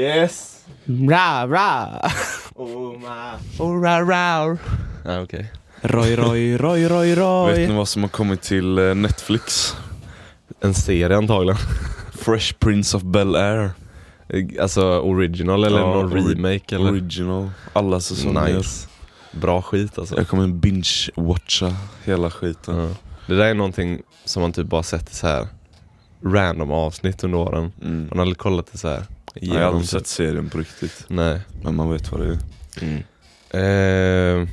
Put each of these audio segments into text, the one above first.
Yes! Ra, ra. Oh my... Oh, ra, ra. Ah, okej. Roy, roy, roy, roy, Vet roy. ni vad som har kommit till eh, Netflix? En serie antagligen. Fresh Prince of Bel-Air. Eh, Alltså original eller Ja, någon ori- remake eller? Original. Alla säsonger. Nice. Bra skit alltså. Jag kommer binge-watcha Eh, hela skiten. Ja. Det där är någonting som man typ bara sett i så här random avsnitt under åren. Mm. Man har aldrig kollat det så här. Nej, jag har aldrig typ. sett Mm. serien på riktigt. Nej. Men man vet vad det är. Eh,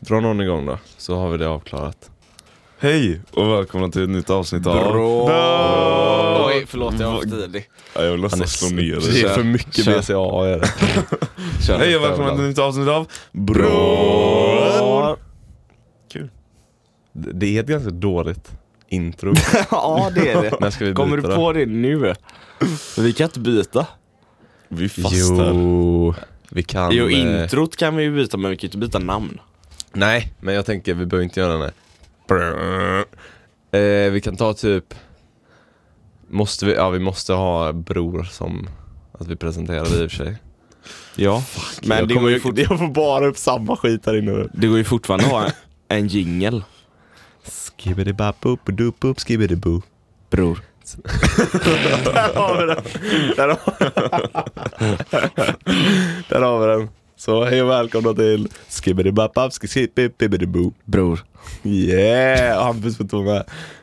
dra någon igång då, så har vi det avklarat. Hej och välkomna till ett nytt avsnitt av... Bra. Oj, förlåt jag var för tidig. Ja, jag vill nästan slå ner Det är för dig. mycket Kör. BCAA är det. Kör. Hej och välkomna till ett nytt avsnitt av... Bra. Kul. Det det är ett ganska dåligt intro. ja, det är det. När ska vi Kommer du byta då? på det nu? Vi kan inte byta. Vi är fast här. Jo, vi kan... Jo, eh, introt kan vi ju byta men vi kan ju inte byta namn. Nej, men jag tänker vi behöver inte göra den här. Eh, vi kan ta typ... Måste vi, ja vi måste ha bror som att vi presenterar i och för sig. Ja, men jag, det kommer går, ju ju, fort, jag får bara upp samma skit här inne nu. det går ju fortfarande att ha en, en jingel. Skibidi-bap-upp-dup-upp, skibidi-boo. Bror. Där har, Där har vi den. Så hej och välkomna till skibidi-bap-up, skibidi-boo. Bror. Yeah! Hampus får inte vara med.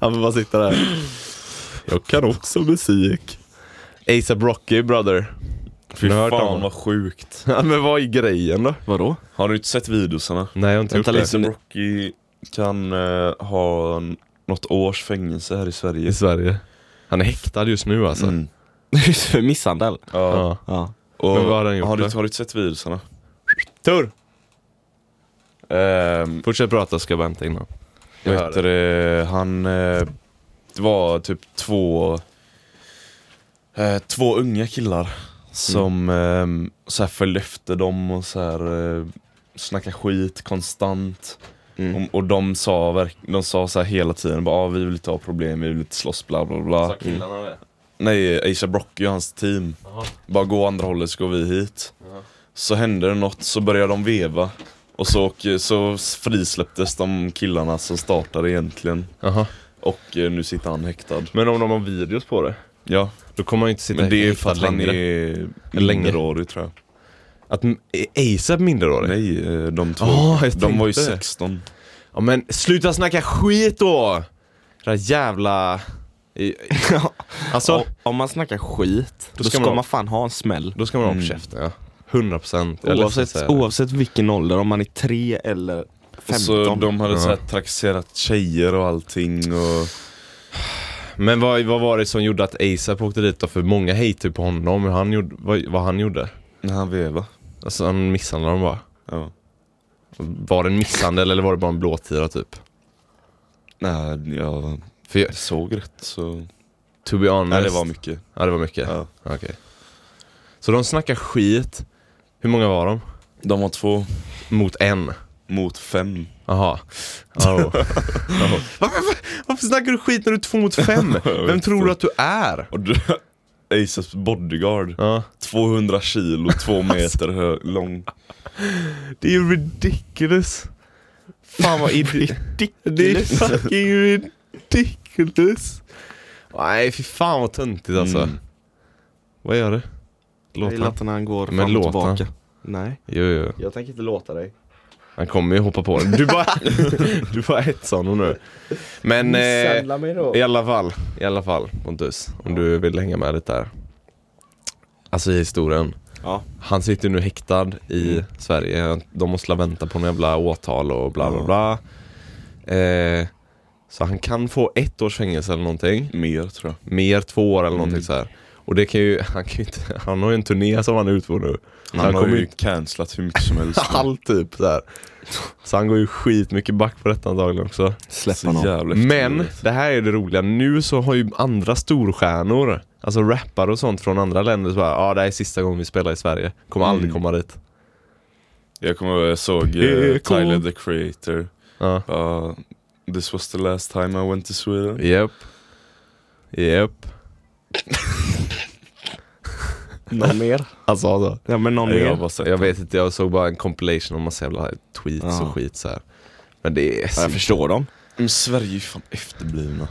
Han får bara sitta där. Jag kan också musik. ASAP Rocky brother. Fy Ni har hört om fan det? vad sjukt. Ja, Men vad är grejen då? Vadå? Typ Har du inte sett videosarna? Nej jag har inte Vänta gjort det. lite. Jason Rocky kan eh, ha n- något års fängelse här i Sverige. I Sverige. Han är häktad just nu alltså. Mm. För misshandel? Ja. Ja. Ja. Och Men vad har han gjort du, då? har du inte sett videosarna? Tur! Ehm, Fortsätt prata ska jag bara hämta innan. vad hör heter det? Han... Eh, det var typ två... Eh, två unga killar som Mm. eh, så här följde efter dem och så här eh, snackade skit konstant. Mm. Och, och de sa, verk- de sa så här hela tiden bara ah, vi vill inte ha problem, vi vill inte slåss bla bla bla. killarna det? Nej, ASAP Rocky och hans team. Jaha. Bara gå andra hållet så går vi hit. Så hände det något, så började de veva. Och så, och så frisläpptes de killarna som startade egentligen. Jaha. Och eh, nu sitter han häktad. Men om de har videos på det? Ja, Då kommer han ju inte sitta men det är för häktad att han längre. är Länge. minderårig tror jag. Att m- är ASAP minderårig? Nej, eh, de två. Ah, jag de var ju tänkte det. 16. Ja men sluta snacka skit då! Det där jävla... I- Alltså, Om- Om man snackar skit, då ska, man, fan ha en smäll. då ska man ha på Mm. käften ja. 100 procent. Oavsett, oavsett vilken ålder, om man är tre eller Och så 15. de hade så här, Ja. trakasserat tjejer och allting. Och... Men vad, vad var det som gjorde att ASAP åkte dit då? För många hatar ju på honom, hur han gjorde, vad, vad han gjorde. När han vevade. Alltså han misshandlade dem bara. Ja. Var det en misshandel eller var det bara en blåtira typ? Nej, jag För jag, såg rätt så... to be honest. Nej, det var mycket. ja, det var mycket. Ja. Okej. Så de snackar skit. Hur många var de? De var två Mot en. mot fem. Jaha. Oh. Varför, varför snackar du skit när du är två mot fem? Vem tror du att du är? Och du, Aces bodyguard. Ja. 200 kilo, två meter hö- lång. Det är ju ridiculous. Fan vad idiot. Det är fucking ridiculous. Nej fy fan vad töntigt alltså. Mm. Vad gör du? Jag Låt gillar han. att när han går Men fram och låt han. tillbaka. Nej. Jo, jo. Jag tänker inte låta dig. Han kommer ju hoppa på den. Du bara, du bara hetsar honom nu. Men eh, mig då. i alla fall, i alla fall Pontus. Om du vill hänga med lite där. Alltså i historien. Ja. Han sitter ju nu häktad i Mm. Sverige. De måste la vänta på några jävla åtal och bla bla bla. Eh, så han kan få ett års fängelse eller någonting. Mer tror jag. Mer två år eller någonting Mm. så här. Och det kan ju, han kan ju inte, han har ju en turné som han är ute på nu. Han, har kommer ju cancelat hur mycket som helst. allt typ så här. Så han går ju skitmycket back på detta antagligen också. Släpp Så honom. jävla Men efterblivet. det här är det roliga, nu så har ju andra storstjärnor, alltså rappare och sånt från andra länder så bara, ja ah, det här är sista gången vi spelar i Sverige, kommer aldrig Mm. komma dit. Jag kommer ihåg, jag såg eh, PK. Tyler the creator. Ja. Bara, This was the last time I went to Sweden. Japp. Japp. Någon mer? Alltså, alltså. Ja men någon Jag, mer. bara, så- Jag vet inte, jag såg bara en compilation om massa jävla tweets Ja. och skit så här. Men det är... Ja, jag förstår dem. men Sverige är ju fan efterblivna.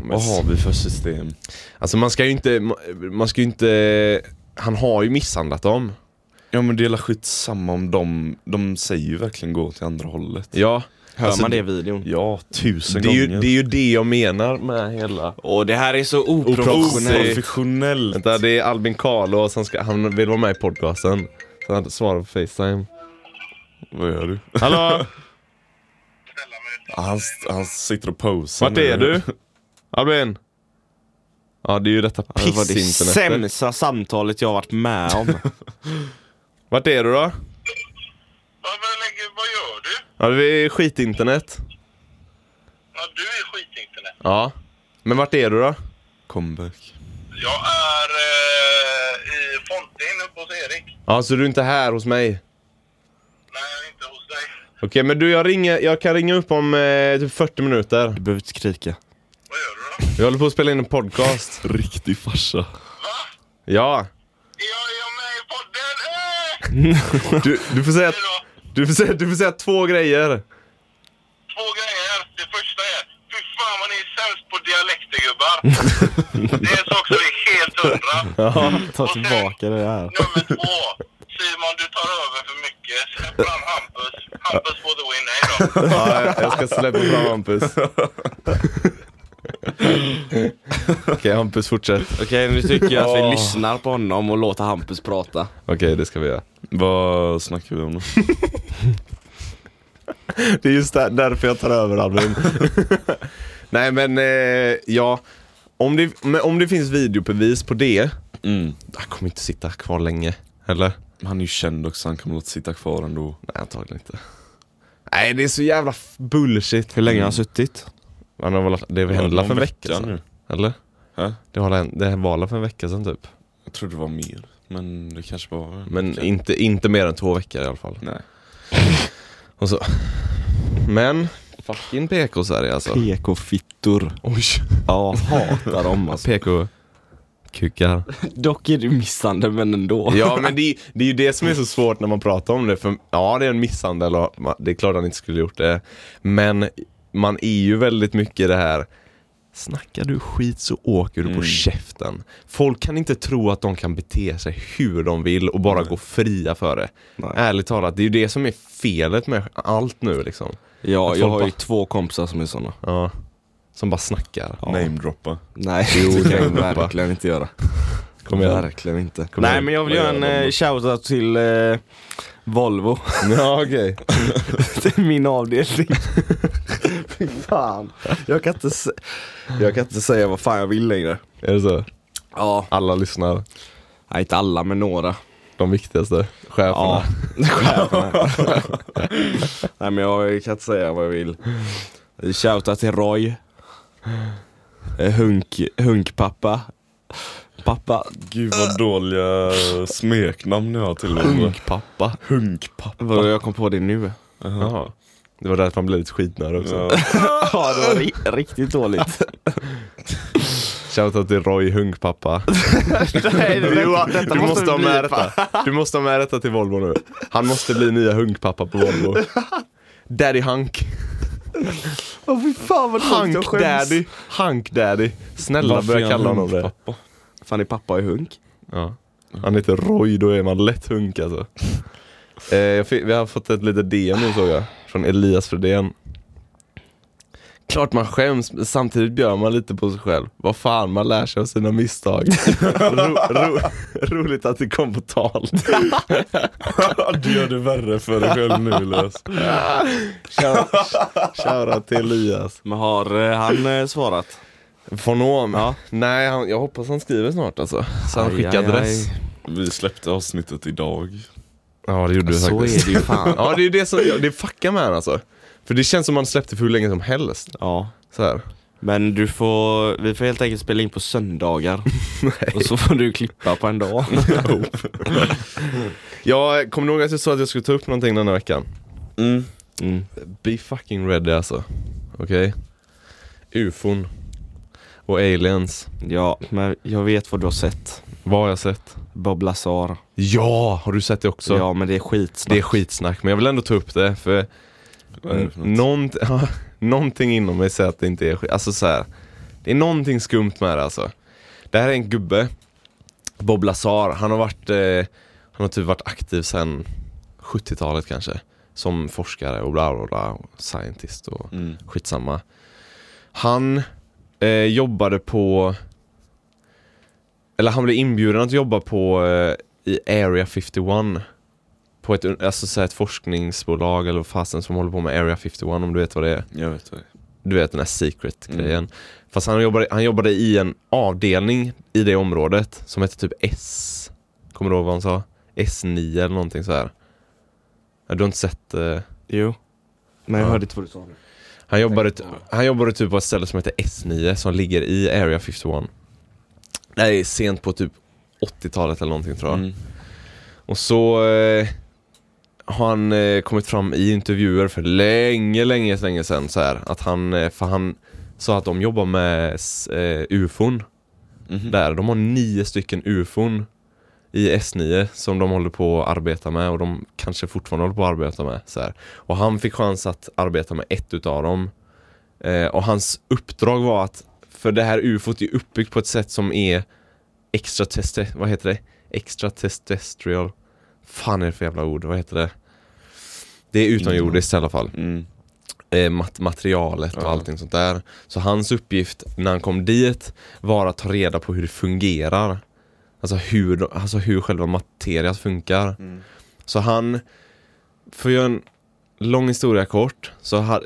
Men- Vad har vi för system? Alltså man ska ju inte, man ska ju inte... Han har ju misshandlat dem. Ja men det är skit samma om de, de säger ju verkligen gå till andra hållet. Ja. Hör Alltså, man det i videon? Ja, tusen Det är, ju, gånger. det är ju det jag menar med hela... Och det här är så Oprofessionellt. Professionellt. Vänta, det är Albin Carlo som ska, han vill vara med i podcasten. Så han svarar på Facetime. Vad gör du? Hallå! Han, han sitter och posar Vart är nu. du? Albin? Ja, det är ju detta Alltså, Det var det pissinternet. sämsta samtalet jag har varit med om. Vart är du då? Ja, men lägg- vad gör du? Ja, det är skitinternet. Ja, du är skitinternet. Ja. Men vart är du då? Comeback. Jag är eh, i Fontin uppe hos Erik. Ja, så du är inte här hos mig? Nej, inte hos dig. Okej, men du jag, ringer, jag kan ringa upp om eh, typ 40 minuter. Du behöver inte skrika. Vad gör du då? Vi håller på att spela in en podcast. Riktig farsa. Va? Ja. Är jag, är jag med i podden? Eh! Du, du, får säga, Hej då. du, får säga, du får säga två grejer. Två grejer. Det första är, fy fan vad ni är sämst på dialekter gubbar. det är en sak som är helt hundra. Ja, ta tillbaka det här. Nummer två. Simon, du tar över för mycket. Släpp fram Hampus. Hampus for the win. Hej då. Ja, jag, jag ska släppa fram Hampus. Okej, Hampus fortsätt. Okej, nu tycker jag att Åh. vi lyssnar på honom och låter Hampus prata. Okej, det ska vi göra. Vad snackar vi om nu? Det är just där, därför jag tar över Albin. Nej men, eh, ja. Om det, men om det finns videobevis på det, Mm. jag kommer inte sitta kvar länge. Eller? Han är ju känd också, han kommer låta sitta kvar ändå. Nej, antagligen inte. Nej, det är så jävla f- bullshit. Hur länge har han suttit? Han har väl, det hände för en vecka sedan. nu. Eller? Hä? Det var, en- det var väl för en vecka sedan typ. Jag tror det var mer, men det kanske var en Men vecka. inte, inte mer än två veckor i alla fall. Nej. Och så. Men, fucking PK-Sverige alltså. PK-fittor. Oj. Ja, hatar dem alltså. PK. Kukar. Dock är det misshandel, men ändå. Ja men det, det är ju det som är så svårt när man pratar om det. För ja, det är en misshandel och man, det är klart han inte skulle gjort det. Men man är ju väldigt mycket i det här Snackar du skit så åker Mm. du på käften. Folk kan inte tro att de kan bete sig hur de vill och bara gå fria för det. Nej. Ärligt talat, det är ju det som är felet med allt nu liksom. Ja, Folk jag har bara- ju två kompisar som är såna. Ja. Som bara snackar. Ja. Namedroppa. Nej, det kan jag verkligen inte göra. Kom igen. Verkligen inte. Kom Nej, igen. men jag vill Vad göra gör en de? eh, shoutout till eh, Volvo. Ja okej. till min avdelning. Fy fan. Jag kan, inte se- jag kan inte säga vad fan jag vill längre. Är det så? Ja. Alla lyssnar. Nej, inte alla, men några. De viktigaste. Cheferna. Ja. Cheferna. Nej, men jag kan inte säga vad jag vill. Shoutout till Roy. Eh, Hunk, hunkpappa. Pappa. Gud vad dåliga smeknamn ni har till och med. Hunkpappa. Hunkpappa. Vad jag kom på det nu. Jaha. Det var därför man blev lite skitnödig också. Ja. Ja, det var ri- riktigt dåligt. Shoutout till Roy Hunkpappa. Nej, Du, du, måste ha med detta. du måste ha med detta till Volvo nu. Han måste bli nya Hunkpappa på Volvo. Daddy Hunk. Åh fy fan vad dåligt jag Hunk skäms. Daddy. Hunk Daddy. Snälla Varför är börja han kalla honom det. hunkpappa? Fan, din pappa är hunk. Ja. Han heter Roy, då är man lätt hunk alltså. Eh, jag fick, vi har fått ett litet DM nu såg jag, från Elias Fredén. Klart man skäms, men samtidigt bjöd man lite på sig själv. Vad fan, man lär sig av sina misstag. ro, ro, roligt att det kom på tal. Du gör det värre för dig själv nu Elias. Shoutout till Elias. Men har eh, han eh, svarat? Fonom? Ja. Nej, han, jag hoppas han skriver snart alltså. Så han Aj, skickar aj, adress. Vi släppte avsnittet idag. Ja, det gjorde du Så faktiskt. är det ju fan. Ja, det är ju det som, det fuckar med han alltså. För det känns som han släppte för hur länge som helst. Ja. Så här. Men du får, vi får helt enkelt spela in på söndagar. Och så får du klippa på en dag. Jag kommer ihåg att jag sa att jag skulle ta upp någonting den här veckan. Mm. Mm. Be fucking ready alltså. Okej? Ufon. Och aliens. Ja, men jag vet vad du har sett. Vad har jag sett? Bob Lazar. Ja, har du sett det också? Ja men det är skitsnack. Det är skitsnack, men jag vill ändå ta upp det för Vad är det för något? nånt- någonting inom mig säger att det inte är skit. Alltså så här, det är någonting skumt med det alltså. Det här är en gubbe, Bob Lazar, han har varit, eh, han har typ varit aktiv sedan 70-talet kanske. Som forskare och bla bla bla, och scientist och Mm. skitsamma. Han eh, jobbade på, eller han blev inbjuden att jobba på eh, i Area 51. På ett, alltså, så här, ett forskningsbolag eller vad fasen som håller på med Area 51 om du vet vad det är. Jag vet vad det är. Du vet den här secret-grejen. Fast han jobbade, han jobbade i en avdelning i det området som hette typ S. Kommer du ihåg vad han sa? S9 eller någonting så här. Ja, Du har inte sett eh, Jo. Men jag Ja. hörde inte vad du sa nu. Han jobbade, han jobbade typ på ett ställe som heter S9 som ligger i Area 51. Det här är sent på typ 80-talet eller någonting tror jag. Mm. Och så eh, har han eh, kommit fram i intervjuer för länge, länge, länge sedan så här, att han, eh, för han sa att de jobbar med s- eh, ufon Mhm. där. De har nio stycken ufon i S9 som de håller på att arbeta med och de kanske fortfarande håller på att arbeta med. Så här. Och han fick chans att arbeta med ett utav dem. Eh, och hans uppdrag var att, för det här ufot är uppbyggt på ett sätt som är extra teste, vad heter det? Extra testestrial. Fan är det för jävla ord, vad heter det? Det är utomjordiskt i alla fall Mm. eh, mat- materialet och Ja. allting sånt där. Så hans uppgift när han kom dit var att ta reda på hur det fungerar. Alltså hur, de- alltså hur själva materiet funkar. Mm. Så han, för att göra en lång historia kort, så ha, eh,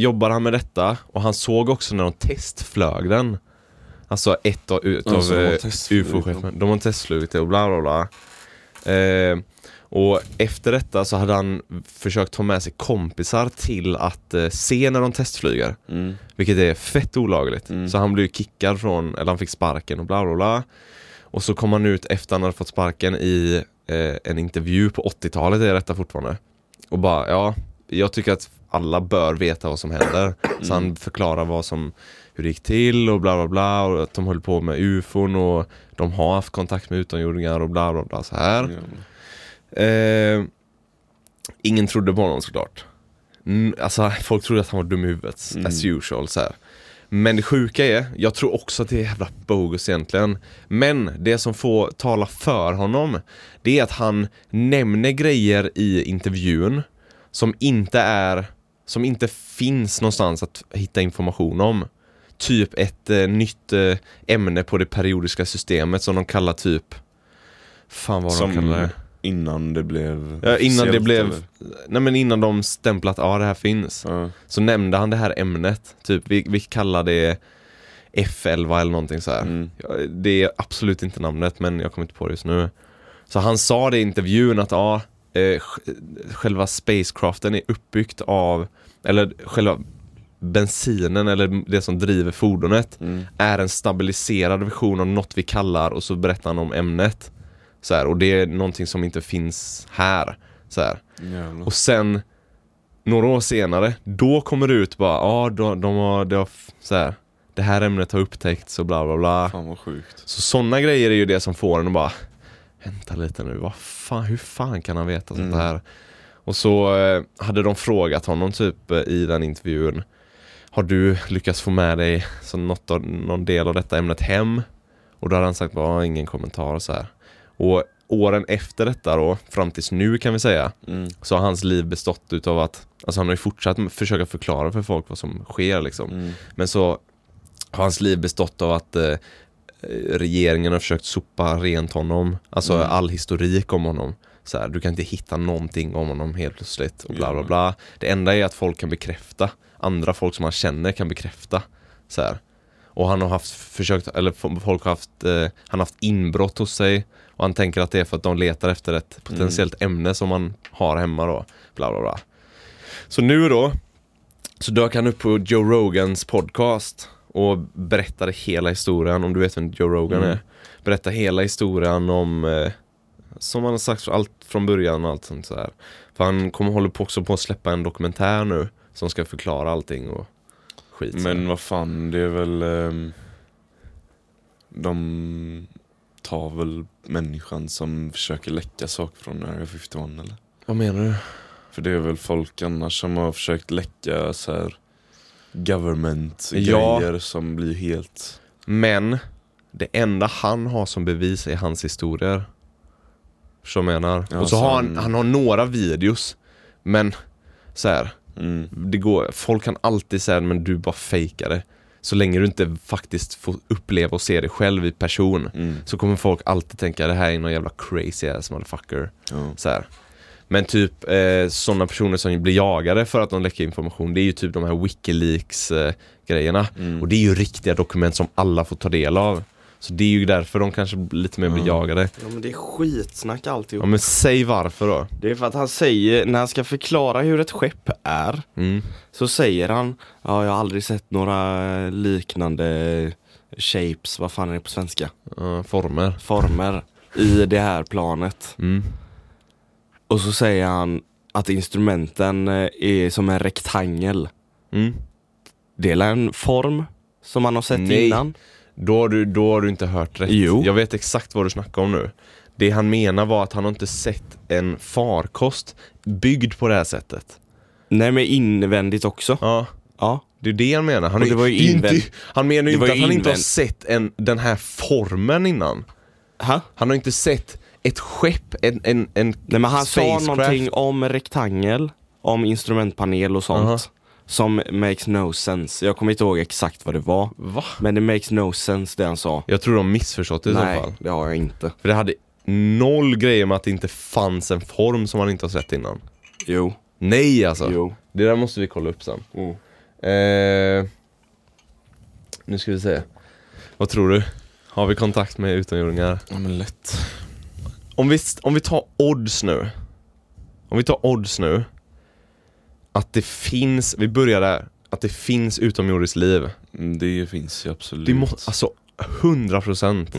jobbade han med detta och han såg också när de testflög den. Alltså ett av, utav Alltså, de har eh, testflugit ufo-chefen. De har testflugit det och bla bla bla. Eh, och efter detta så hade han försökt ta med sig kompisar till att eh, se när de testflyger. Mm. Vilket är fett olagligt. Mm. Så han blev ju kickad från, eller han fick sparken och bla bla bla. Och så kom han ut efter han hade fått sparken i eh, en intervju på 80-talet är detta fortfarande. Och bara, ja, jag tycker att alla bör veta vad som händer. Så han förklarar vad som, hur det gick till och bla bla bla. Och att de höll på med ufon och de har haft kontakt med utomjordingar och bla bla bla så här. Eh, ingen trodde på honom såklart. Mm, alltså folk trodde att han var dum i huvudet, as usual så här. Men det sjuka är, jag tror också att det är jävla bogus egentligen. Men det som får tala för honom, det är att han nämner grejer i intervjun som inte är, som inte finns någonstans att hitta information om. Typ ett eh, nytt eh, ämne på det periodiska systemet som de kallar typ, fan vad de kallar Som det? innan det blev Ja, innan det officiellt, blev, eller? nej men innan de stämplat ja det här finns. Ja. Så nämnde han det här ämnet, typ vi, vi kallar det F11 eller någonting så här. Mm. Ja, Det är absolut inte namnet men jag kommer inte på det just nu. Så han sa det i intervjun att ja, eh, sj- själva spacecraften är uppbyggt av, eller själva bensinen eller det som driver fordonet Mm. är en stabiliserad version av något vi kallar och så berättar han om ämnet. Så här, och det är någonting som inte finns här. Så här. Jävlar. Och sen några år senare, då kommer det ut bara, ja ah, de, de har, de har f- så här, det här ämnet har upptäckts och bla bla bla. Fan vad sjukt. Så sådana grejer är ju det som får en att bara Vänta lite nu, vad fan, hur fan kan han veta sånt Mm. här? Och så eh, hade de frågat honom typ eh, i den intervjun Har du lyckats få med dig så något av, någon del av detta ämnet hem? Och då hade han sagt bara, "Ja, ingen kommentar och så här. Och åren efter detta då, fram tills nu kan vi säga Mm. Så har hans liv bestått utav att Alltså han har ju fortsatt m- försöka förklara för folk vad som sker liksom Mm. men så har hans liv bestått av att eh, regeringen har försökt sopa rent honom. Alltså Mm. all historik om honom. Så här, du kan inte hitta någonting om honom helt plötsligt och bla bla bla. Det enda är att folk kan bekräfta. Andra folk som han känner kan bekräfta. Så här. Och han har haft försökt, eller f- folk har haft, eh, han har haft inbrott hos sig. Och han tänker att det är för att de letar efter ett potentiellt ämne som man har hemma då. Bla bla bla. Så nu då, så dök han upp på Joe Rogans podcast och berättade hela historien, om du vet vem Joe Rogan är. Berättade hela historien om, eh, som han har sagt, allt från början och allt sånt så här. För han kommer håller på också på att släppa en dokumentär nu som ska förklara allting och skit. så här. Men vad fan, det är väl ehm, de tar väl människan som försöker läcka saker från Area 51 eller? Vad menar du? För det är väl folk annars som har försökt läcka så här government Ja. grejer som blir helt... Men det enda han har som bevis är hans historier. Förstår du vad jag menar? Ja, och så har så han, han- han har några videos. Men så här, Mm. det går, folk kan alltid säga men du bara fejkar det. Så länge du inte faktiskt får uppleva och se det själv i person Mm. så kommer folk alltid tänka det här är någon jävla crazy ass motherfucker. Ja. Så här. Men typ eh, sådana personer som blir jagade för att de läcker information, det är ju typ de här Wikileaks-grejerna. Och det är ju riktiga dokument som alla får ta del av. Så det är ju därför de kanske lite mer blir jagade. Ja men det är skitsnack alltihop. Ja men säg varför då. Det är för att han säger, när han ska förklara hur ett skepp är, Mm. så säger han Ja, jag har aldrig sett några liknande shapes, vad fan är det på svenska? Ja, former. Former i det här planet. Mm. Och så säger han att instrumenten eh, är som en rektangel. Mm. Det är en form som man har sett Nej. innan. Då har, du, då har du inte hört rätt. Jo. Jag vet exakt vad du snackar om nu. Det han menar var att han har inte sett en farkost byggd på det här sättet. Nej men invändigt också. Ja. Ja. Det är det han menar. Han, Och det var ju är inte- invänd- han menar ju det var inte att ju han inte har invänd- sett en, den här formen innan. Ha? Han har inte sett ett skepp, en, en, en Nej men han sa spacecraft. någonting om rektangel, om instrumentpanel och sånt. Aha. Som makes no sense. Jag kommer inte ihåg exakt vad det var. Va? Men det makes no sense det han sa. Jag tror de missförstått det i Nej, så fall. det har jag inte. För det hade noll grejer med att det inte fanns en form som han inte har sett innan. Jo. Nej alltså. Jo. Det där måste vi kolla upp sen. Mm. Eh, nu ska vi se. Vad tror du? Har vi kontakt med utomjordingar? Ja men lätt. Om vi, om vi tar odds nu. Om vi tar odds nu. Att det finns, vi börjar där. Att det finns utomjordiskt liv. Mm, Det finns ju absolut. Det måste, alltså 100 procent.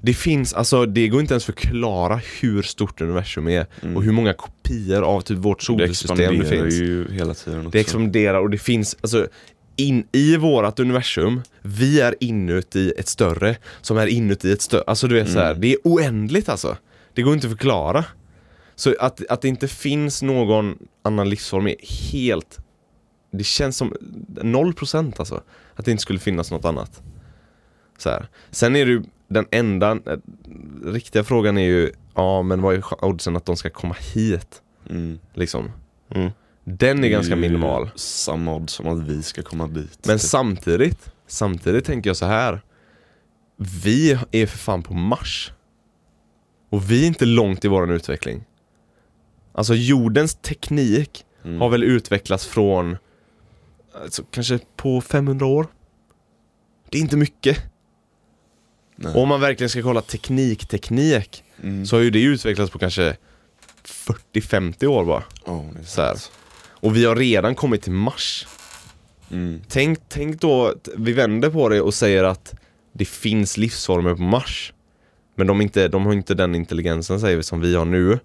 Det finns, alltså det går inte ens förklara hur stort universum är och hur många kopior av typ vårt det solsystem Mm. det expanderar finns. ju hela tiden också. Det liksom- expanderar och det finns, alltså in, i vårt universum, vi är inuti ett större som är inuti ett större. Alltså du vet så här, det är oändligt alltså. Det går inte att förklara. Så att, att det inte finns någon annan livsform är helt, det känns som 0% alltså. Att det inte skulle finnas något annat. Så här. Sen är det ju den enda, eh, riktiga frågan är ju, ja men vad är ch- oddsen att de ska komma hit? Mm. Liksom. Mm. Den är ganska ju minimal. Samma odds som att vi ska komma dit. Men typ. samtidigt, samtidigt tänker jag så här. Vi är för fan på Mars. Och vi är inte långt i våran utveckling. Alltså jordens teknik Mm. har väl utvecklats från alltså, kanske på 500 år. Det är inte mycket. Nej. Och om man verkligen ska kolla teknik, teknik Mm. så har ju det utvecklats på kanske 40-50 år bara. Ja, det är Så här. sant. Och vi har redan kommit till Mars. Mm. Tänk, tänk då, att vi vänder på det och säger att det finns livsformer på Mars. Men de, är inte, de har inte den intelligensen säger vi, som vi har nu.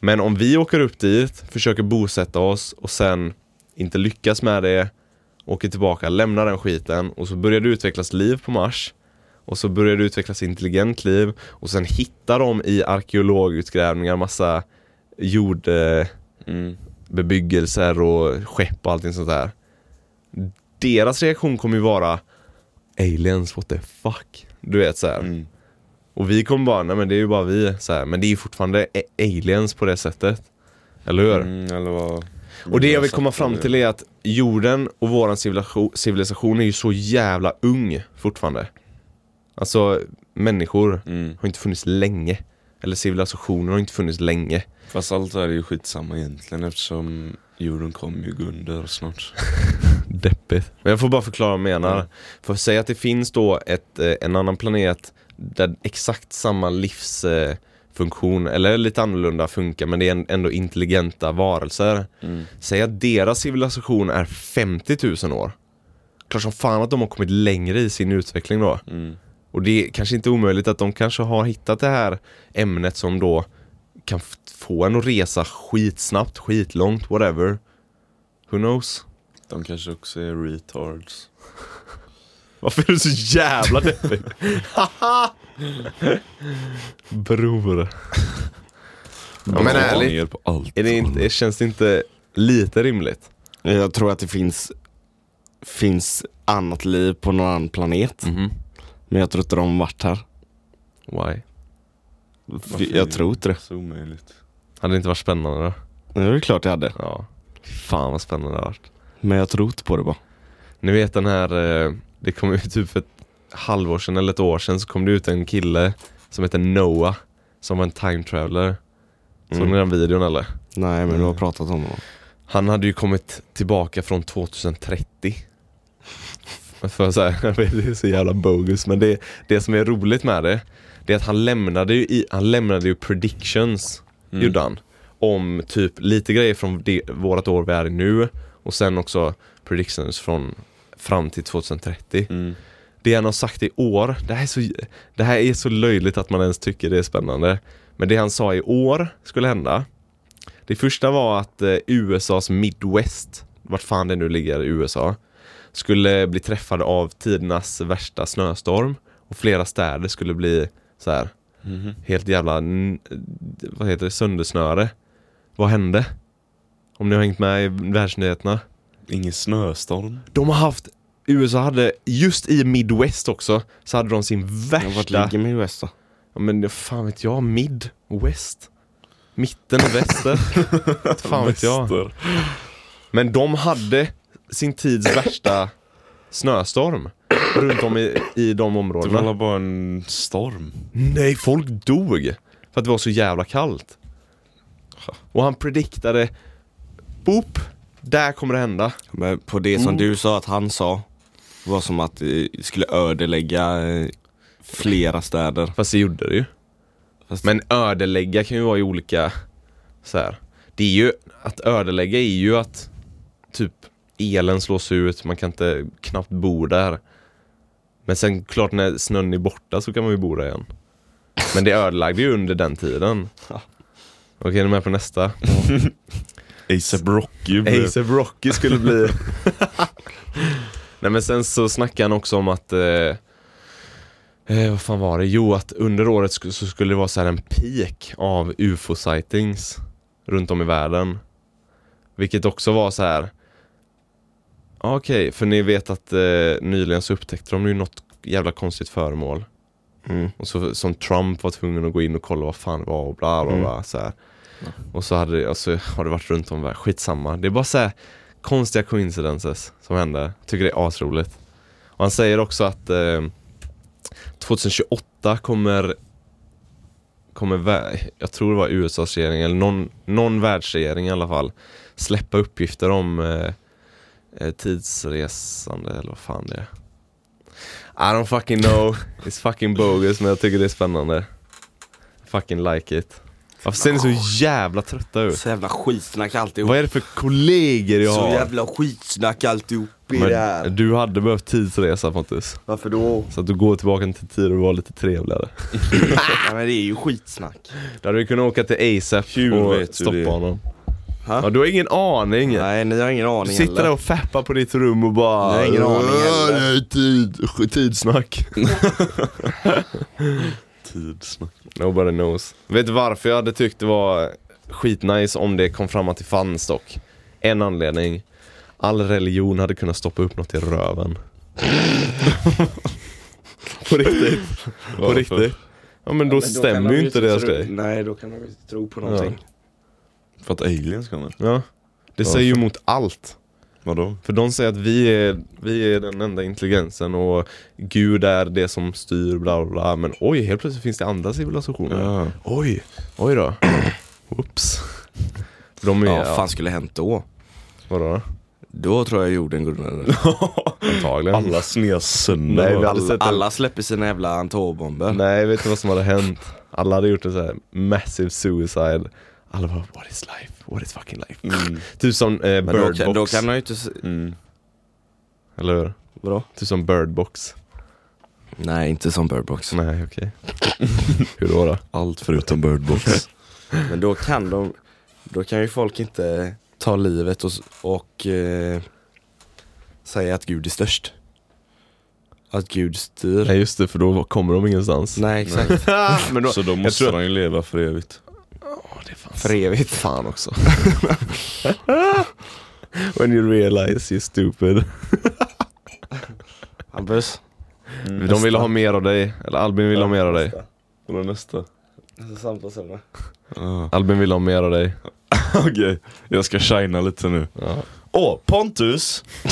Men om vi åker upp dit, försöker bosätta oss och sen inte lyckas med det, åker tillbaka, lämnar den skiten och så börjar det utvecklas liv på Mars. Och så börjar det utvecklas intelligent liv och sen hittar de i arkeologutgrävningar massa jord... Eh, Mm. bebyggelser och skepp och allting sånt där. Deras reaktion kommer ju vara Aliens, what the fuck? Du vet så här. Mm. Och vi kommer bara, nej men det är ju bara vi så här. Men det är ju fortfarande a- aliens på det sättet. Eller hur? Mm, eller vad... Och det jag vill komma fram till är att jorden och våran civilisation, civilisation är ju så jävla ung fortfarande. Alltså människor Mm. har inte funnits länge. Eller civilisationer har inte funnits länge. Fast allt det här är ju skitsamma egentligen eftersom jorden kommer ju gå under snart. Deppigt. Men jag får bara förklara vad jag menar. För säg att det finns då ett, eh, en annan planet där exakt samma livsfunktion, eh, eller lite annorlunda funkar, men det är en- ändå intelligenta varelser. Säg att deras civilisation är 50 000 år. Klart som fan att de har kommit längre i sin utveckling då. Mm. Och det är kanske inte omöjligt att de kanske har hittat det här ämnet som då kan f- få en att resa skitsnabbt, skitlångt, whatever. Who knows? De kanske också är retards. Varför är du så jävla deppig? Haha! Bror. Bra men ärligt. ner på allt. Är det inte, känns det inte lite rimligt? Jag tror att det finns, finns annat liv på någon annan planet. Mhm. Men jag tror inte de varit här. Why? Varför Jag tror inte det. Så omöjligt. Hade det inte varit spännande då? Det är klart jag hade. Ja. Fan vad spännande det har varit. Men jag tror inte på det bara. Ni vet den här, eh, det kom ut typ för ett halvår sedan eller ett år sedan så kom det ut en kille som heter Noah som var en time traveler. Såg Mm. ni den videon eller? Nej men du har pratat om det. Han hade ju kommit tillbaka från 2030. För så här, jag vet, det är så jävla bogus men det, det som är roligt med det, det är att han lämnade ju, i, han lämnade ju predictions, gjorde han. Om typ lite grejer från det, vårat år vi är i nu och sen också predictions från fram till 2030. Mm. Det han har sagt i år, det här, är så, det här är så löjligt att man ens tycker det är spännande. Men det han sa i år skulle hända. Det första var att eh, USAs Midwest, vart fan det nu ligger i USA, skulle bli träffade av tidernas värsta snöstorm. Och flera städer skulle bli så här Mhm. helt jävla, n- vad heter det, söndersnöre. Vad hände? Om ni har hängt med i världsnyheterna? Ingen snöstorm. De har haft, USA hade, just i Midwest också, så hade de sin Jag vart värsta, ligger min väst då? ja, men fan vet jag, mid, west, mitten och väster. fan vet jag. Väster. Men de hade sin tids värsta snöstorm runt om i, i de Det områdena. var bara en storm. Nej, folk dog för att det var så jävla kallt. Och han prediktade, boop, där kommer det hända. Men på det som du sa att han sa var som att det skulle ödelägga eh, flera städer. Fast det gjorde det ju. Fast- Men ödelägga kan ju vara i olika så här. Det är ju, att ödelägga är ju att typ elen slås ut, man kan inte knappt bo där. Men sen klart när snön är borta så kan man ju bo där igen. Men det ödelagde ju under den tiden. Ja. Okej, är ni med på nästa? ASAP Rocky blev- ASAP Rocky skulle bli... Nej men sen så snackade han också om att... Eh, eh, vad fan var det? Jo, att under året sk- så skulle det vara så här en peak av ufo-sightings runt om i världen. Vilket också var så här... Ja, Okej, för ni vet att eh, nyligen så upptäckte de ju något jävla konstigt föremål. Mm. Och så, som Trump var tvungen att gå in och kolla vad fan det var och bla bla bla. Så här. Och så hade, det- och så har det varit runt om världen, skitsamma. Det är bara så här konstiga coincidences som händer. Tycker det är asroligt. Och han säger också att eh, 2028 kommer, kommer vä- jag tror det var USAs regering eller någon, någon världsregering i alla fall släppa uppgifter om eh, eh, tidsresande eller vad fan det är. I don't fucking know. It's fucking bogus men jag tycker det är spännande. Fucking like it. Varför ser ni så jävla trötta ut? Så jävla skitsnack alltihop. Vad är det för kollegor jag Så har? jävla skitsnack alltihop i det här. Men du hade behövt tidsresa Pontus. Varför då? Så att du går tillbaka till tiden och var lite trevligare. Nej men det är ju skitsnack. Då hade du kunnat åka till ASAP Hur vet och du stoppa det? honom. Ha? Ja, du har ingen aning. Nej ni har ingen du aning sitter där heller. och fappar på ditt rum och bara... Jag har ingen aning heller. "Ja, det är tid, Tidsnack. Tidsnack. Nobody knows. Vet du varför jag hade tyckt det var skitnice om det kom fram att det fanns dock? En anledning. All religion hade kunnat stoppa upp något i röven. på riktigt. På Varför? riktigt. Ja men då, stämmer ju inte deras grej. Nej då kan man ju inte tro på någonting. För att aliens kommer. Ja. Det säger ju emot allt. Vadå? För de säger att vi är, vi är den enda intelligensen och Gud är det som styr bla bla bla. Men oj, helt plötsligt finns det andra civilisationer. Ja. Oj, oj då. Oops. De är, Ja, vad fan skulle hänt då? vadå? Då tror jag jorden går under. Antagligen. Alla sned sönder. Nej, vi bara. hade sett en- Alla släpper sina jävla atombomber. Nej, vet du vad som hade hänt? Alla hade gjort en så här massive suicide. Alla bara, what is life? What is fucking life? Mm. Typ som eh, Men då, Bird kan- Box. då kan man ju inte... s- Mm. Eller hur? Vadå? Typ som Bird Box. Nej inte som Bird Box. Nej, okej. hur då? då? Allt förutom Birdbox. Men då kan de... Då kan ju folk inte ta livet och, s- och eh, säga att Gud är störst. Att Gud styr. Nej just det, för då kommer de ingenstans. Nej, exakt. Ah, Men då, Så då måste tror att- de ju leva för evigt. För evigt. fan också. When you realize you're stupid. Hampus. De vill ha mer av dig, eller Albin vill ha mer av dig. Vad är nästa? Samtalsämne. Albin vill ha mer av dig. Ah. Okej, jag ska shina lite nu. Åh, Pontus!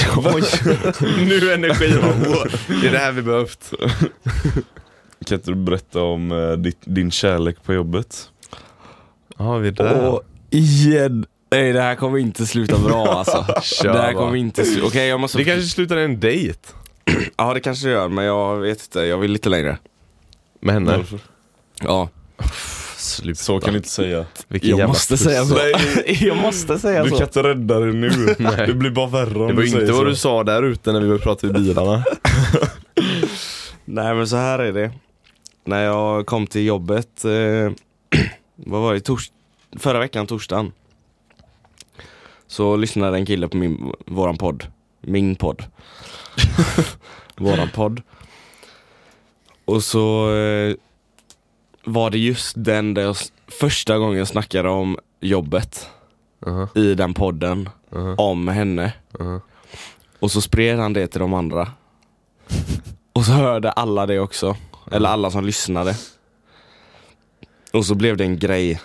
nu energi Det är det här vi behövt. Kan inte du berätta om eh, ditt, din kärlek på jobbet? Ja, vi är där. Åh, igen. Nej, det här kommer inte sluta bra alltså. Kör det här bara. kommer inte sluta... Okej, jag måste... Det kanske slutar i en dejt Ja, det kanske det gör, men jag vet inte. Jag vill lite längre. med henne. Varför? Ja. Sluta. Så kan du inte säga. Vilken Jag jävla måste puss. säga så. Nej. jag måste säga Du kan så. inte rädda dig nu. Nej. Det blir bara värre om Det var du inte säger vad du så. sa där ute när vi började prata i bilarna. Nej, men så här är det. När jag kom till jobbet, eh, vad var det, tors- förra veckan, torsdagen. Så lyssnade en kille på min, våran podd. Min podd. våran podd. Och så eh, var det just den där jag, s- första gången jag snackade om jobbet Uh-huh, i den podden uh-huh, om henne. uh-huh. Och så spred han det till de andra. Och så hörde alla det också. Eller alla som lyssnade. Och så blev det en grej.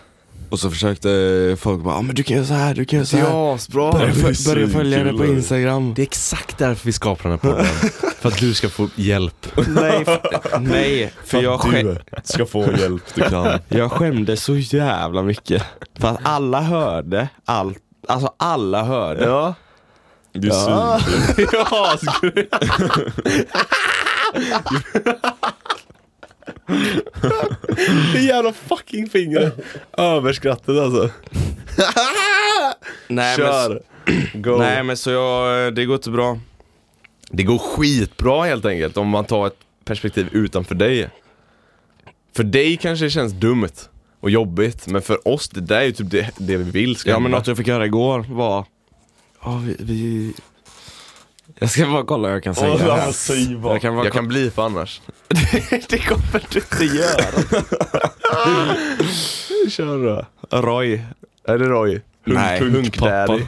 Och så försökte folk bara, ah, men du kan göra så här, du kan göra så här. Ja, bra. Börja, det är föl- börja så följa henne på kul. instagram. Det är exakt därför vi skapar den här podden. för att du ska få hjälp. Nej, för, nej, för jag, Att skä- du ska få hjälp du kan. jag skämdes så jävla mycket. För att alla hörde allt. Alltså alla hörde. Ja. Du är ja. ja, skulle Det jävla fucking fingret. Överskrattet alltså. Nej, Men, Kör. Go. nej men så jag, det går inte bra. Det går skitbra helt enkelt om man tar ett perspektiv utanför dig. För dig kanske det känns dumt och jobbigt, men för oss, det där är ju typ det, det vi vill ska Ja men hända. något jag fick höra igår var Ja vi, vi... Jag ska bara kolla vad jag kan säga Åh, här. alltså, säg vad. Jag kan bara Jag kan bli för annars. Det kommer du inte göra Kör då. Roy Är det Roy? Nej, hunkpappa.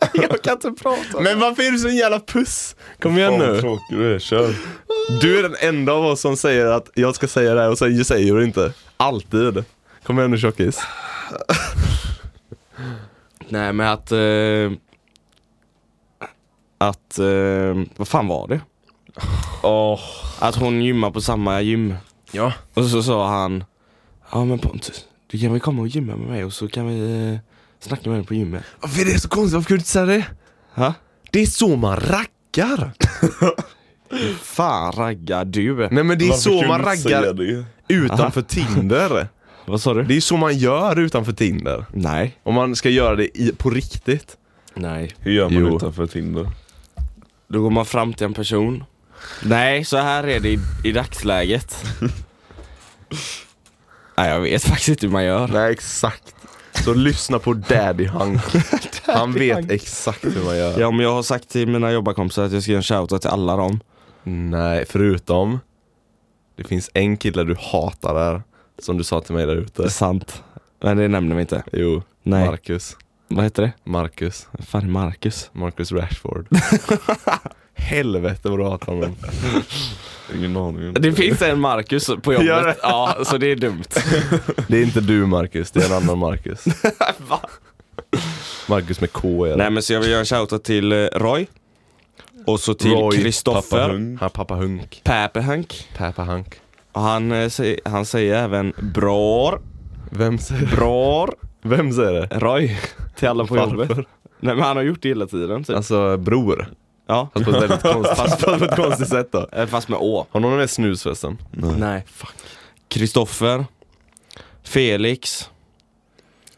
Jag kan inte prata Men varför är du så en jävla puss? Kom igen Fan vad nu. tråkig du är, kör. Du är den enda av oss som säger att jag ska säga det här och sen säger du inte. Alltid. Kom igen nu tjockis. Nej men att eh, Att eh, Vad fan var det? Åh, Att hon gymmar på samma gym Ja. Och så sa han Ja men Pontus Du kan väl komma och gymma med mig och så kan vi eh, Snacka med dig på gymmet Varför är det så konstigt? Varför kunde du inte säga det? Ha? Det är så man raggar. Fan raggar du Nej men det är varför så kunde man du inte säga raggar det? utanför Tinder. Vad sa du? Det är så man gör utanför Tinder. Nej Om man ska göra det i, på riktigt. Nej Hur gör man Jo. utanför Tinder? Då går man fram till en person. Nej, så här är det i, i dagsläget. Nej, jag vet faktiskt inte hur man gör. Nej exakt. Så lyssna på Daddy Hunk. Han vet exakt hur man gör. Ja, men jag har sagt till mina jobbarkompisar att jag ska göra en shoutout till alla dem. Nej, förutom det finns en kille du hatar där, som du sa till mig där Det är ute. sant. Men det nämner vi inte. Jo, Nej, Marcus. vad heter det? Marcus. Vad Fan, är Marcus. Marcus Rashford. Helvete vad du hatar honom. Ingen aning. Det finns en Marcus på jobbet. Gör det? Ja, så det är dumt. Det är inte du Marcus, det är en annan Marcus. Marcus med K är det. Nej, men så jag vill göra en shoutout till eh, Roy. Och så till Roy, Pappa Kristoffer Hung. Han pappa Hunk. Päpehänk. Pappa Hunk. Och han, eh, säger- han säger även bror, Vem säger det? bror. Vem säger det? Roy till alla på Varför? jobbet. Nej men han har gjort det hela tiden typ. Alltså bror. ja. Fast på ett väldigt konstigt, fast på ett konstigt sätt då. Eh, Fast med Å. Har någon med snus förresten? Nej. Fuck. Kristoffer. Felix.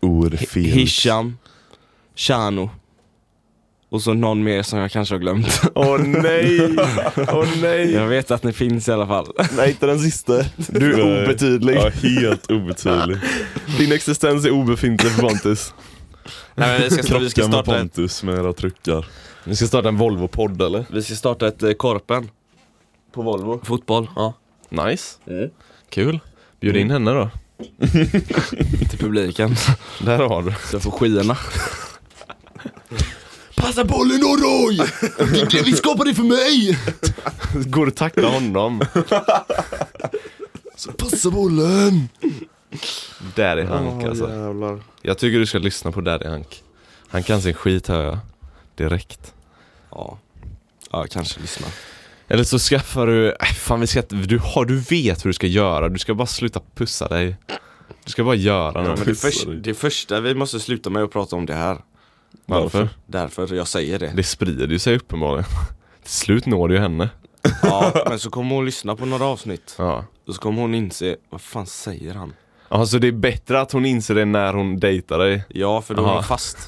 Orfel. Hisham. Shano. Och så någon mer som jag kanske har glömt. Åh nej! Åh nej! Jag vet att ni finns i alla fall. Nej, inte den sista. Du är Nej. obetydlig. Ja, helt obetydlig. Din existens är obefintlig för Pontus. Nej, men vi, ska, vi, ska Krocka med starta ett, Pontus med era truckar. Vi ska starta en Volvo-podd eller? vi ska starta ett eh, korpen. På Volvo. Fotboll, Mm. ja. Nice. Kul. Bjud in henne då. Till publiken. Där har du. Så jag får skierna. Passa bollen då Roy! Vi skapar det för mig! Går att tackla honom. Passa bollen! Där är Hank alltså. jävlar. Jag tycker du ska lyssna på Där är Hank. Han kan sin skit hör jag. Direkt. Ja. ja, kanske lyssna. Eller så skaffar du, äh, fan vi ska, du, har, du vet hur du ska göra, du ska bara sluta pussa dig. Du ska bara göra Ja, något. men det, förs- det första vi måste sluta med att prata om det här. Varför? Därför jag säger det. Det sprider ju sig uppenbarligen. Till slut når det ju henne. Ja, men så kommer hon lyssna på några avsnitt. Ja. Och så kommer hon inse, vad fan säger han? Ja, så det är bättre att hon inser det när hon dejtar dig. Ja, för då är Aha. hon fast.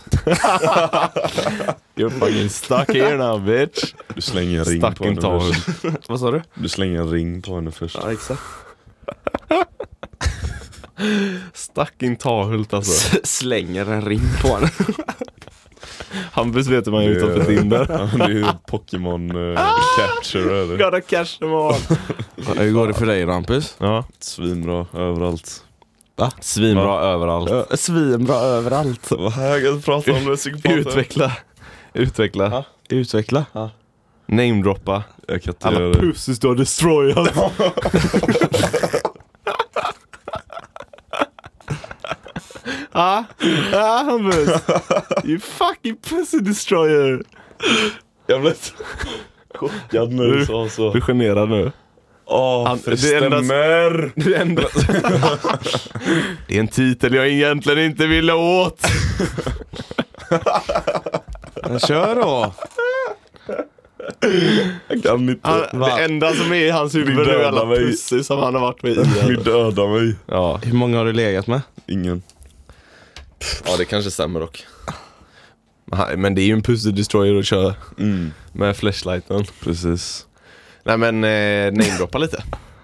You're fucking stuck here now bitch. Du slänger en ring Stuck på in henne town. först. Vad sa du? Du slänger en ring på henne först. Ja, exakt. Stuck in Tahult alltså. Slänger en ring på henne. Hampus vet hur man gör Det är- utanför Tinder. Ja, det är ju Pokémon eh, Capture eller? Gotta catch them all. Hur går det för dig Rampus? Ja. Svinbra överallt. Va? Svinbra överallt. Svinbra överallt. Vad härligt att prata om det psykopater. Utveckla. Utveckla. Ja. Utveckla. Ja. Namedroppa. Jag kan inte Alla göra det. pussies du har destroyat. ah, ah Hampus. You fucking pussy destroyer. Jag blev så chockad när du sa så. Du är generad nu. Åh, Han- för det det är endast- stämmer! Det är, ändå... det är en titel jag egentligen inte ville åt. Kör då! Jag kan inte. Han, Va? det enda som är i hans huvud Ni nu är dödar alla mig. pussy som han har varit med i. Ni dödar mig. Ja, Hur många har du legat med? Ingen. ja det kanske stämmer dock. Men det är ju en pussy destroyer att köra Mm, med flashlighten. precis. Nej men eh, namedroppa lite.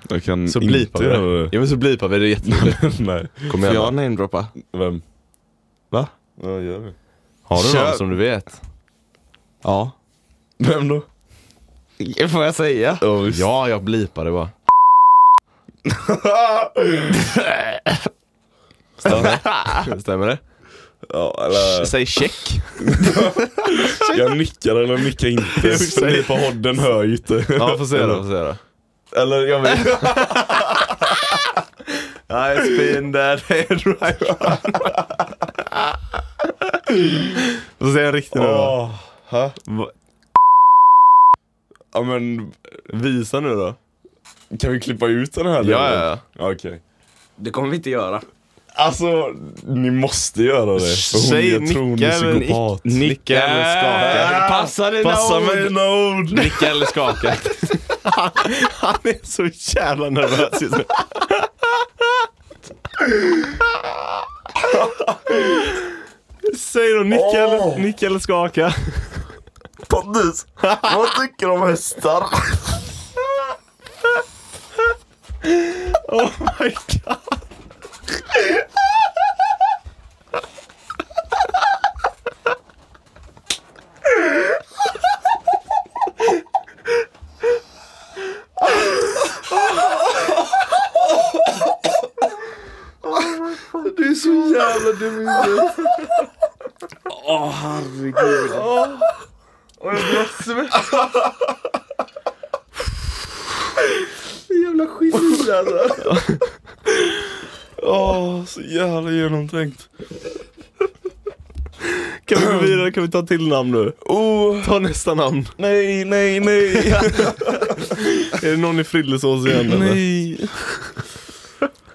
Jag kan Så inte blipar vi göra det. det. Ja men så blipar vi det jätteroligt. Nej. Kom Får igen jag då. namedroppa? Vem? Va? Ja, gör det. Har du Kör. någon som du vet? Ja. Vem då? Får jag säga? Ja, visst. Ja, jag blipar det bara. Stämmer. Stämmer det? Ja, eller... Säg check. Jag nickar eller nickar inte. För ni på hodden hör ju inte. Ja, får se då. Får se då. Eller jag vet I spin that head right Får se en riktig nu då. Åh, ha? Va- Ja men, Visa nu då. kan vi klippa ut den här Ja, ja, ja. ja. Okej. Det kommer vi inte göra. Alltså, ni måste göra det. För hon, Säg jag tror hon nicka är eller nick- psykopat. Nicka eller skaka. Passa dina Passa ord. mina ord! Nicka eller skaka. Han är så jävla nervös just nu. Säg då nicka, eller, nicka eller skaka. Pontus, vad tycker du om hästar? Oh my god. Du är så jävla dum i huvudet. Åh herregud. Åh, jag blir svettig. Jävla geni alltså. Åh, så jävla genomtänkt. Kan vi gå vidare? Kan vi ta till namn nu? Oh, Ta nästa namn. nej, nej, nej. Är det någon i Frillesås igen eller? nej.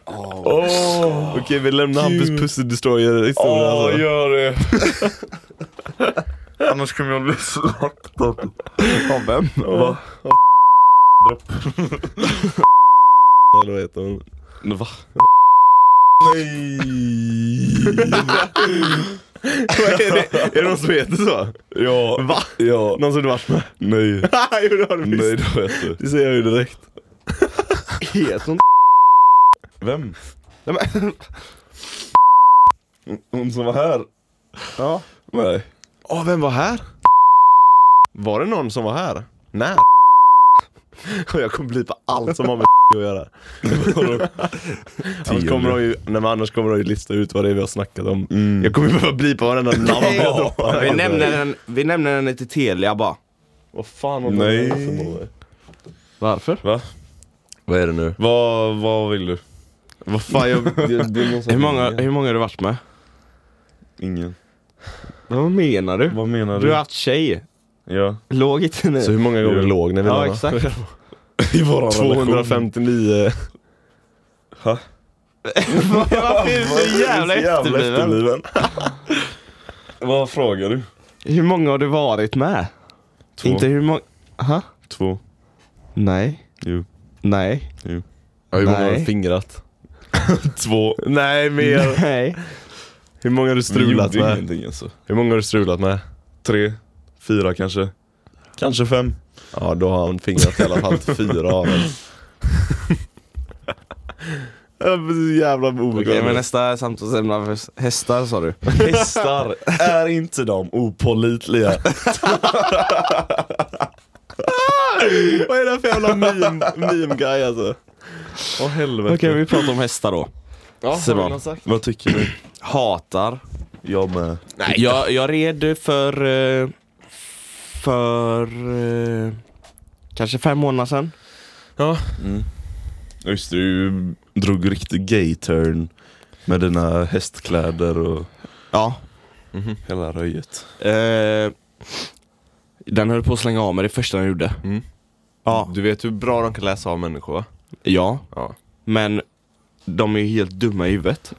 Oh. Okej, vi lämnar Hampus Gud. Pussy Destroyer historia Åh, alltså. gör det. Annars kommer jag bli slaktad. Av vem? Va? Eller vad heter hon? Va? Nej. Vad är det? Är det någon som heter så? Ja. Va? Ja. Någon som du varit med? Nej. jo det har du Nej, visst. det vet du. Det säger jag ju direkt. Heter hon Vem? Nej, men- Hon som var här. Ja. Nej. Åh, vem var här? Var det någon som var här? När? Och jag kommer blipa allt som har med att göra. annars, kommer de ju, nej, men annars kommer de ju lista ut vad det är vi har snackat om. Jag kommer ju behöva blipa varenda namn jag droppar. Vi nämner, den, vi nämner den inte Telia bara. Vad fan var Nej. det för bolag? Varför? Va? Vad är det nu? Vad, vad vill du? Vad fan, jag... Det, det är någon som- Hur många, hur många har du varit med? Ingen. Vad menar du? Vad menar du? Du har haft tjej. Ja. Låg inte Så ni? hur många gånger Jo. låg ni med Ja varandra? exakt. I våran 259 Varför är du så jävla efterbliven? Vad frågar du? Hur många har du varit med? Två. Inte hur många... Aha. Två. Nej. Jo. Nej. Ja, hur många har du Nej. fingrat? Två. Nej, mer! Nej. Hur många har du strulat Vi gjorde med? ingenting alltså. Hur många har du strulat med? Tre. Fyra kanske. Kanske fem. Ja, då har han fingrat i alla fall fyra av oss. Jag är så jävla obekväm. Okej men nästa samtalsämne för hästar sa du. Hästar, är inte de opålitliga? Vad är det här för jävla meme, meme guy alltså? Åh helvete. Okej vi pratar om hästar då. Simon. Vad tycker du? Hatar. Jag med. Nej. Jag, jag red för... eh, För... eh, Kanske fem månader sedan. Ja, Just det, du drog riktig gay-turn med dina hästkläder och Ja. hela röjet. Eh, den höll på att slänga av mig det första den gjorde. Mm. Ja. Du vet hur bra de kan läsa av människor va? ja, Ja. men de är ju helt dumma i huvudet.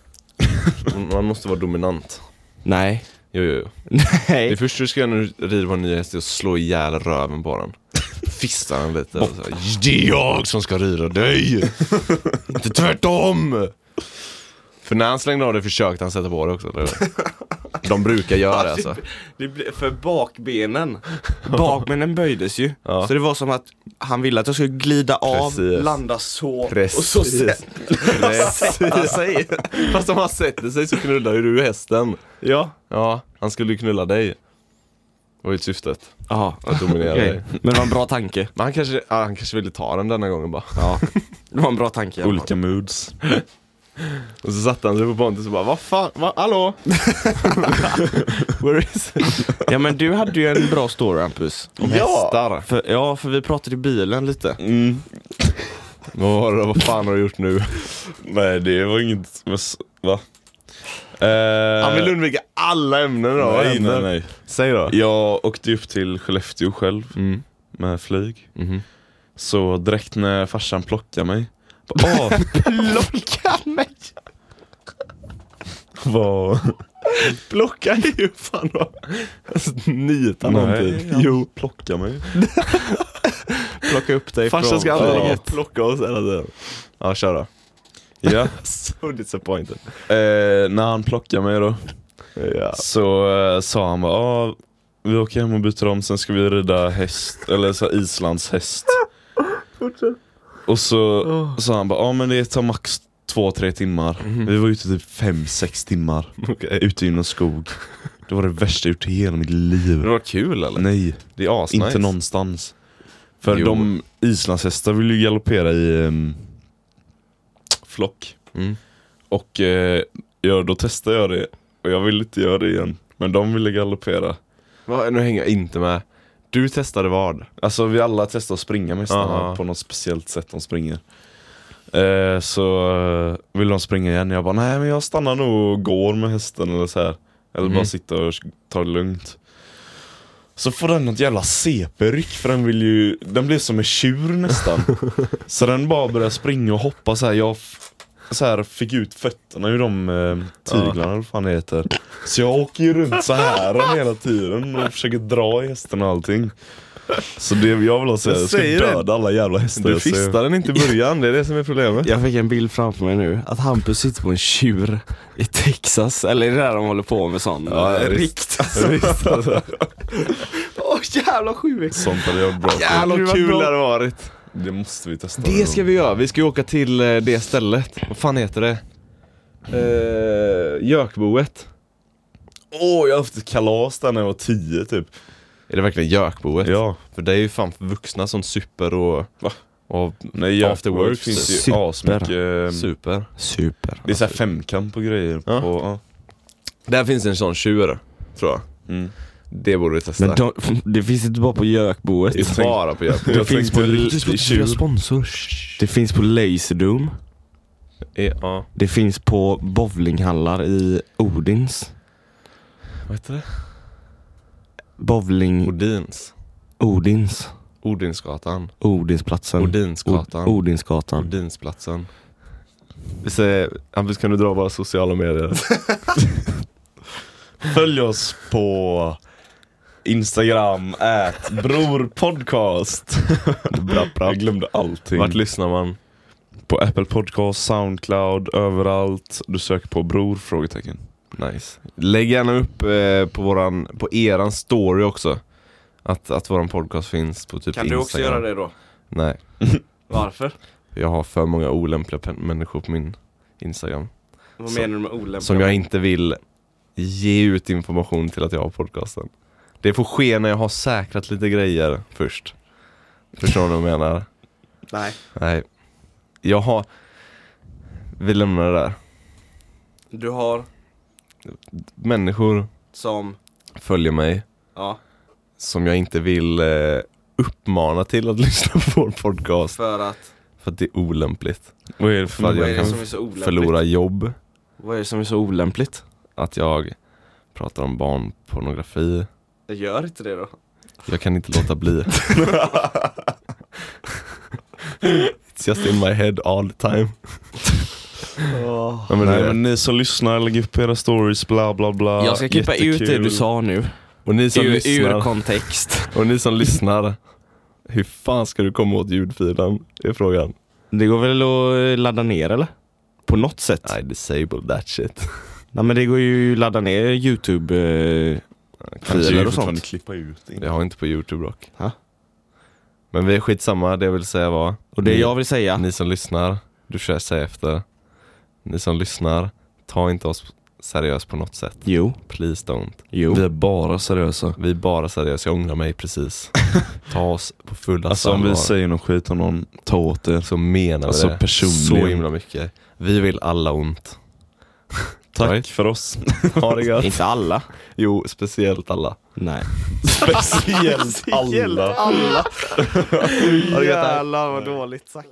Man måste vara dominant. Nej. Jo, jo, jo. Det Nej. första du ska göra när du river på en ny häst är att slå ihjäl röven på den. Fista den lite. och så här, Det är jag som ska rida dig! Inte tvärtom! För när han slängde av det försökte han sätta på det också, eller hur? De brukar göra det alltså. Det blev för bakbenen. Bakbenen böjdes ju. Ja. Så det var som att han ville att jag skulle glida av, Precis. landa så och Precis. så sä- sätta Precis. sig. Fast om han sätter sig så knullar ju du hästen. Ja. Ja, han skulle ju knulla dig. Var ju syftet. Ja, Att dominera okej. dig. Men det var en bra tanke. Men han kanske, ah, han kanske ville ta den denna gången bara. Ja. Det var en bra tanke. i alla fall. Olika moods. Och så satte han sig på Pontus och bara, vad fan, va, hallå? Where is it? Ja men du hade ju en bra story Hampus. Om hästar. För, ja, för vi pratade i bilen lite. Mm. Vad, var det, vad fan har du gjort nu? Nej det var inget, vad s- va? Eh, Han vill undvika alla ämnen då. vad nej, nej händer? nej. Säg då. Jag åkte upp till Skellefteå själv Mm. med flyg. Mhm. Så direkt när farsan plockade mig, bara, "Åh, Plocka mig! vad... Plocka ju fan då. Nita någon Nej, typ. han Jo. plockade mig. Plocka upp dig Farsan från... ska aldrig Ja. ja. plocka oss hela tiden. Ja, kör då. Ja, So disappointed. eh, när han plockade mig då Ja. så eh, sa han bara, "Ah, vi åker hem och byter om sen ska vi rida häst, eller så här, Islands häst. Och så sa han bara, ja men det tar max 2-3 timmar. Vi var ute typ 5-6 timmar. Okej. Ute i någon skog. Det var det värsta jag gjort i hela mitt liv. Det var kul eller? Nej, Det är asnice. inte någonstans. För Jo. de islandshästar vill ju galoppera i ehm, flock. Mm. Och eh, ja, då testade jag det. Och jag ville inte göra det igen. Men de ville galoppera. Va, nu hänger jag inte med. Du testade vad? Alltså vi alla testar att springa med hästarna Aha. på något speciellt sätt de springer. Eh, så eh, vill de springa igen. Jag bara, nej men jag stannar nog och går med hästen eller så här. Eller bara Mhm. sitta och ta det lugnt. Så får den något jävla CP-ryck för den vill ju, den blir som en tjur nästan. så den bara börjar springa och hoppa så här. Jag f- så här fick ut fötterna ur de eh, tyglarna eller vad fan det heter. Så jag åker ju runt så här hela tiden och försöker dra i hästen och allting. Så det jag vill ha säga, Jag jag ska säger det. döda alla jävla hästar Du jag ser. fistade den inte i början, det är det som är problemet. Jag fick en bild framför mig nu, att Hampus sitter på en tjur i Texas, eller är det där de håller på med sån? Ja, ja, eh, visst. rikt alltså. Åh jävla sjukt! Sånt hade jag bra på. Jävlar Det vad var kul bra. det hade varit. Det måste vi testa. Det ska vi göra, vi ska ju åka till eh, det stället. Vad fan heter det? Eh, Jökboet. Åh, jag har haft ett kalas där när jag var tio typ. Är det verkligen Jökboet? Ja. För det är ju fan för vuxna som super och... Va? och Nej, After after work work finns ju super. asmycket. eh, super. Super. Det är såhär femkamp och grejer. Ja. På, ja. Där finns en sån tjur, tror jag. Mm. Det borde vi testa. Men de, det finns inte bara på Jökboet. Det är bara på Jökboet. Det finns på, riktig tjur. sponsor. det finns på Laserdome. Ja. Det finns på bowlinghallar i Odins. Vad heter det? Bowling Odins. Odins. Odinsgatan. Odinsplatsen. Odinsgatan. Od- Odinsgatan. Odinsplatsen. Vi säger, Hampus kan du dra våra sociala medier? Följ oss på Instagram, ät brorpodcast. Jag glömde allting. Vart lyssnar man? På Apple Podcast, Soundcloud, överallt. Du söker på bror? Frågetecken. Nice. Lägg gärna upp eh, på, våran, på eran story också. Att, att våran podcast finns på typ Kan Instagram. du också göra det då? Nej. Varför? Jag har för många olämpliga pen- människor på min Instagram. Vad Så- menar du med olämpliga? Som jag inte vill ge ut information till att jag har podcasten. Det får ske när jag har säkrat lite grejer först. Förstår du vad jag menar? Nej. Nej. Jag har... Vi lämnar det där. Du har Människor som, följer mig ja, som jag inte vill eh, uppmana till att lyssna på vår podcast. för att. För att det är olämpligt. Vad är det Vad för Vad jag är det kan som är så olämpligt? Förlora jobb. Vad är det som är så olämpligt? Att jag pratar om barnpornografi. Jag gör inte det då. Jag kan inte låta bli. It's just in my head all the time. Nej, men det- Nej men ni som lyssnar, lägg upp era stories, bla bla bla. Jag ska klippa ut det du sa nu. och, ni som Ur, ur lyssnar, kontext. och ni som lyssnar, hur fan ska du komma åt ljudfilen? Är frågan. Det går väl att eh, ladda ner eller? På något sätt? I disable that shit. Nej men det går ju att ladda ner youtube eh, Filer och sånt. sånt. klippa ut det. Jag har inte på youtube dock. Ha? Men vi är skitsamma, det jag vill säga var, Och det ni, jag vill säga, ni som lyssnar, du kör säga efter. Ni som lyssnar, ta inte oss seriöst på något sätt. jo, Please don't. jo. Vi är bara seriösa. Vi är bara seriösa, jag ångrar mig precis. Ta oss på fulla Alltså om vi säger någon skit om någon, ta åt er. så menar vi Alltså, det personligen. så himla mycket. Vi vill alla ont. Tack Right. för oss. Ha det gött. Inte alla. Jo, speciellt alla. Nej. Speciellt alla. alla. Ha det gött. Jävlar vad dåligt sagt.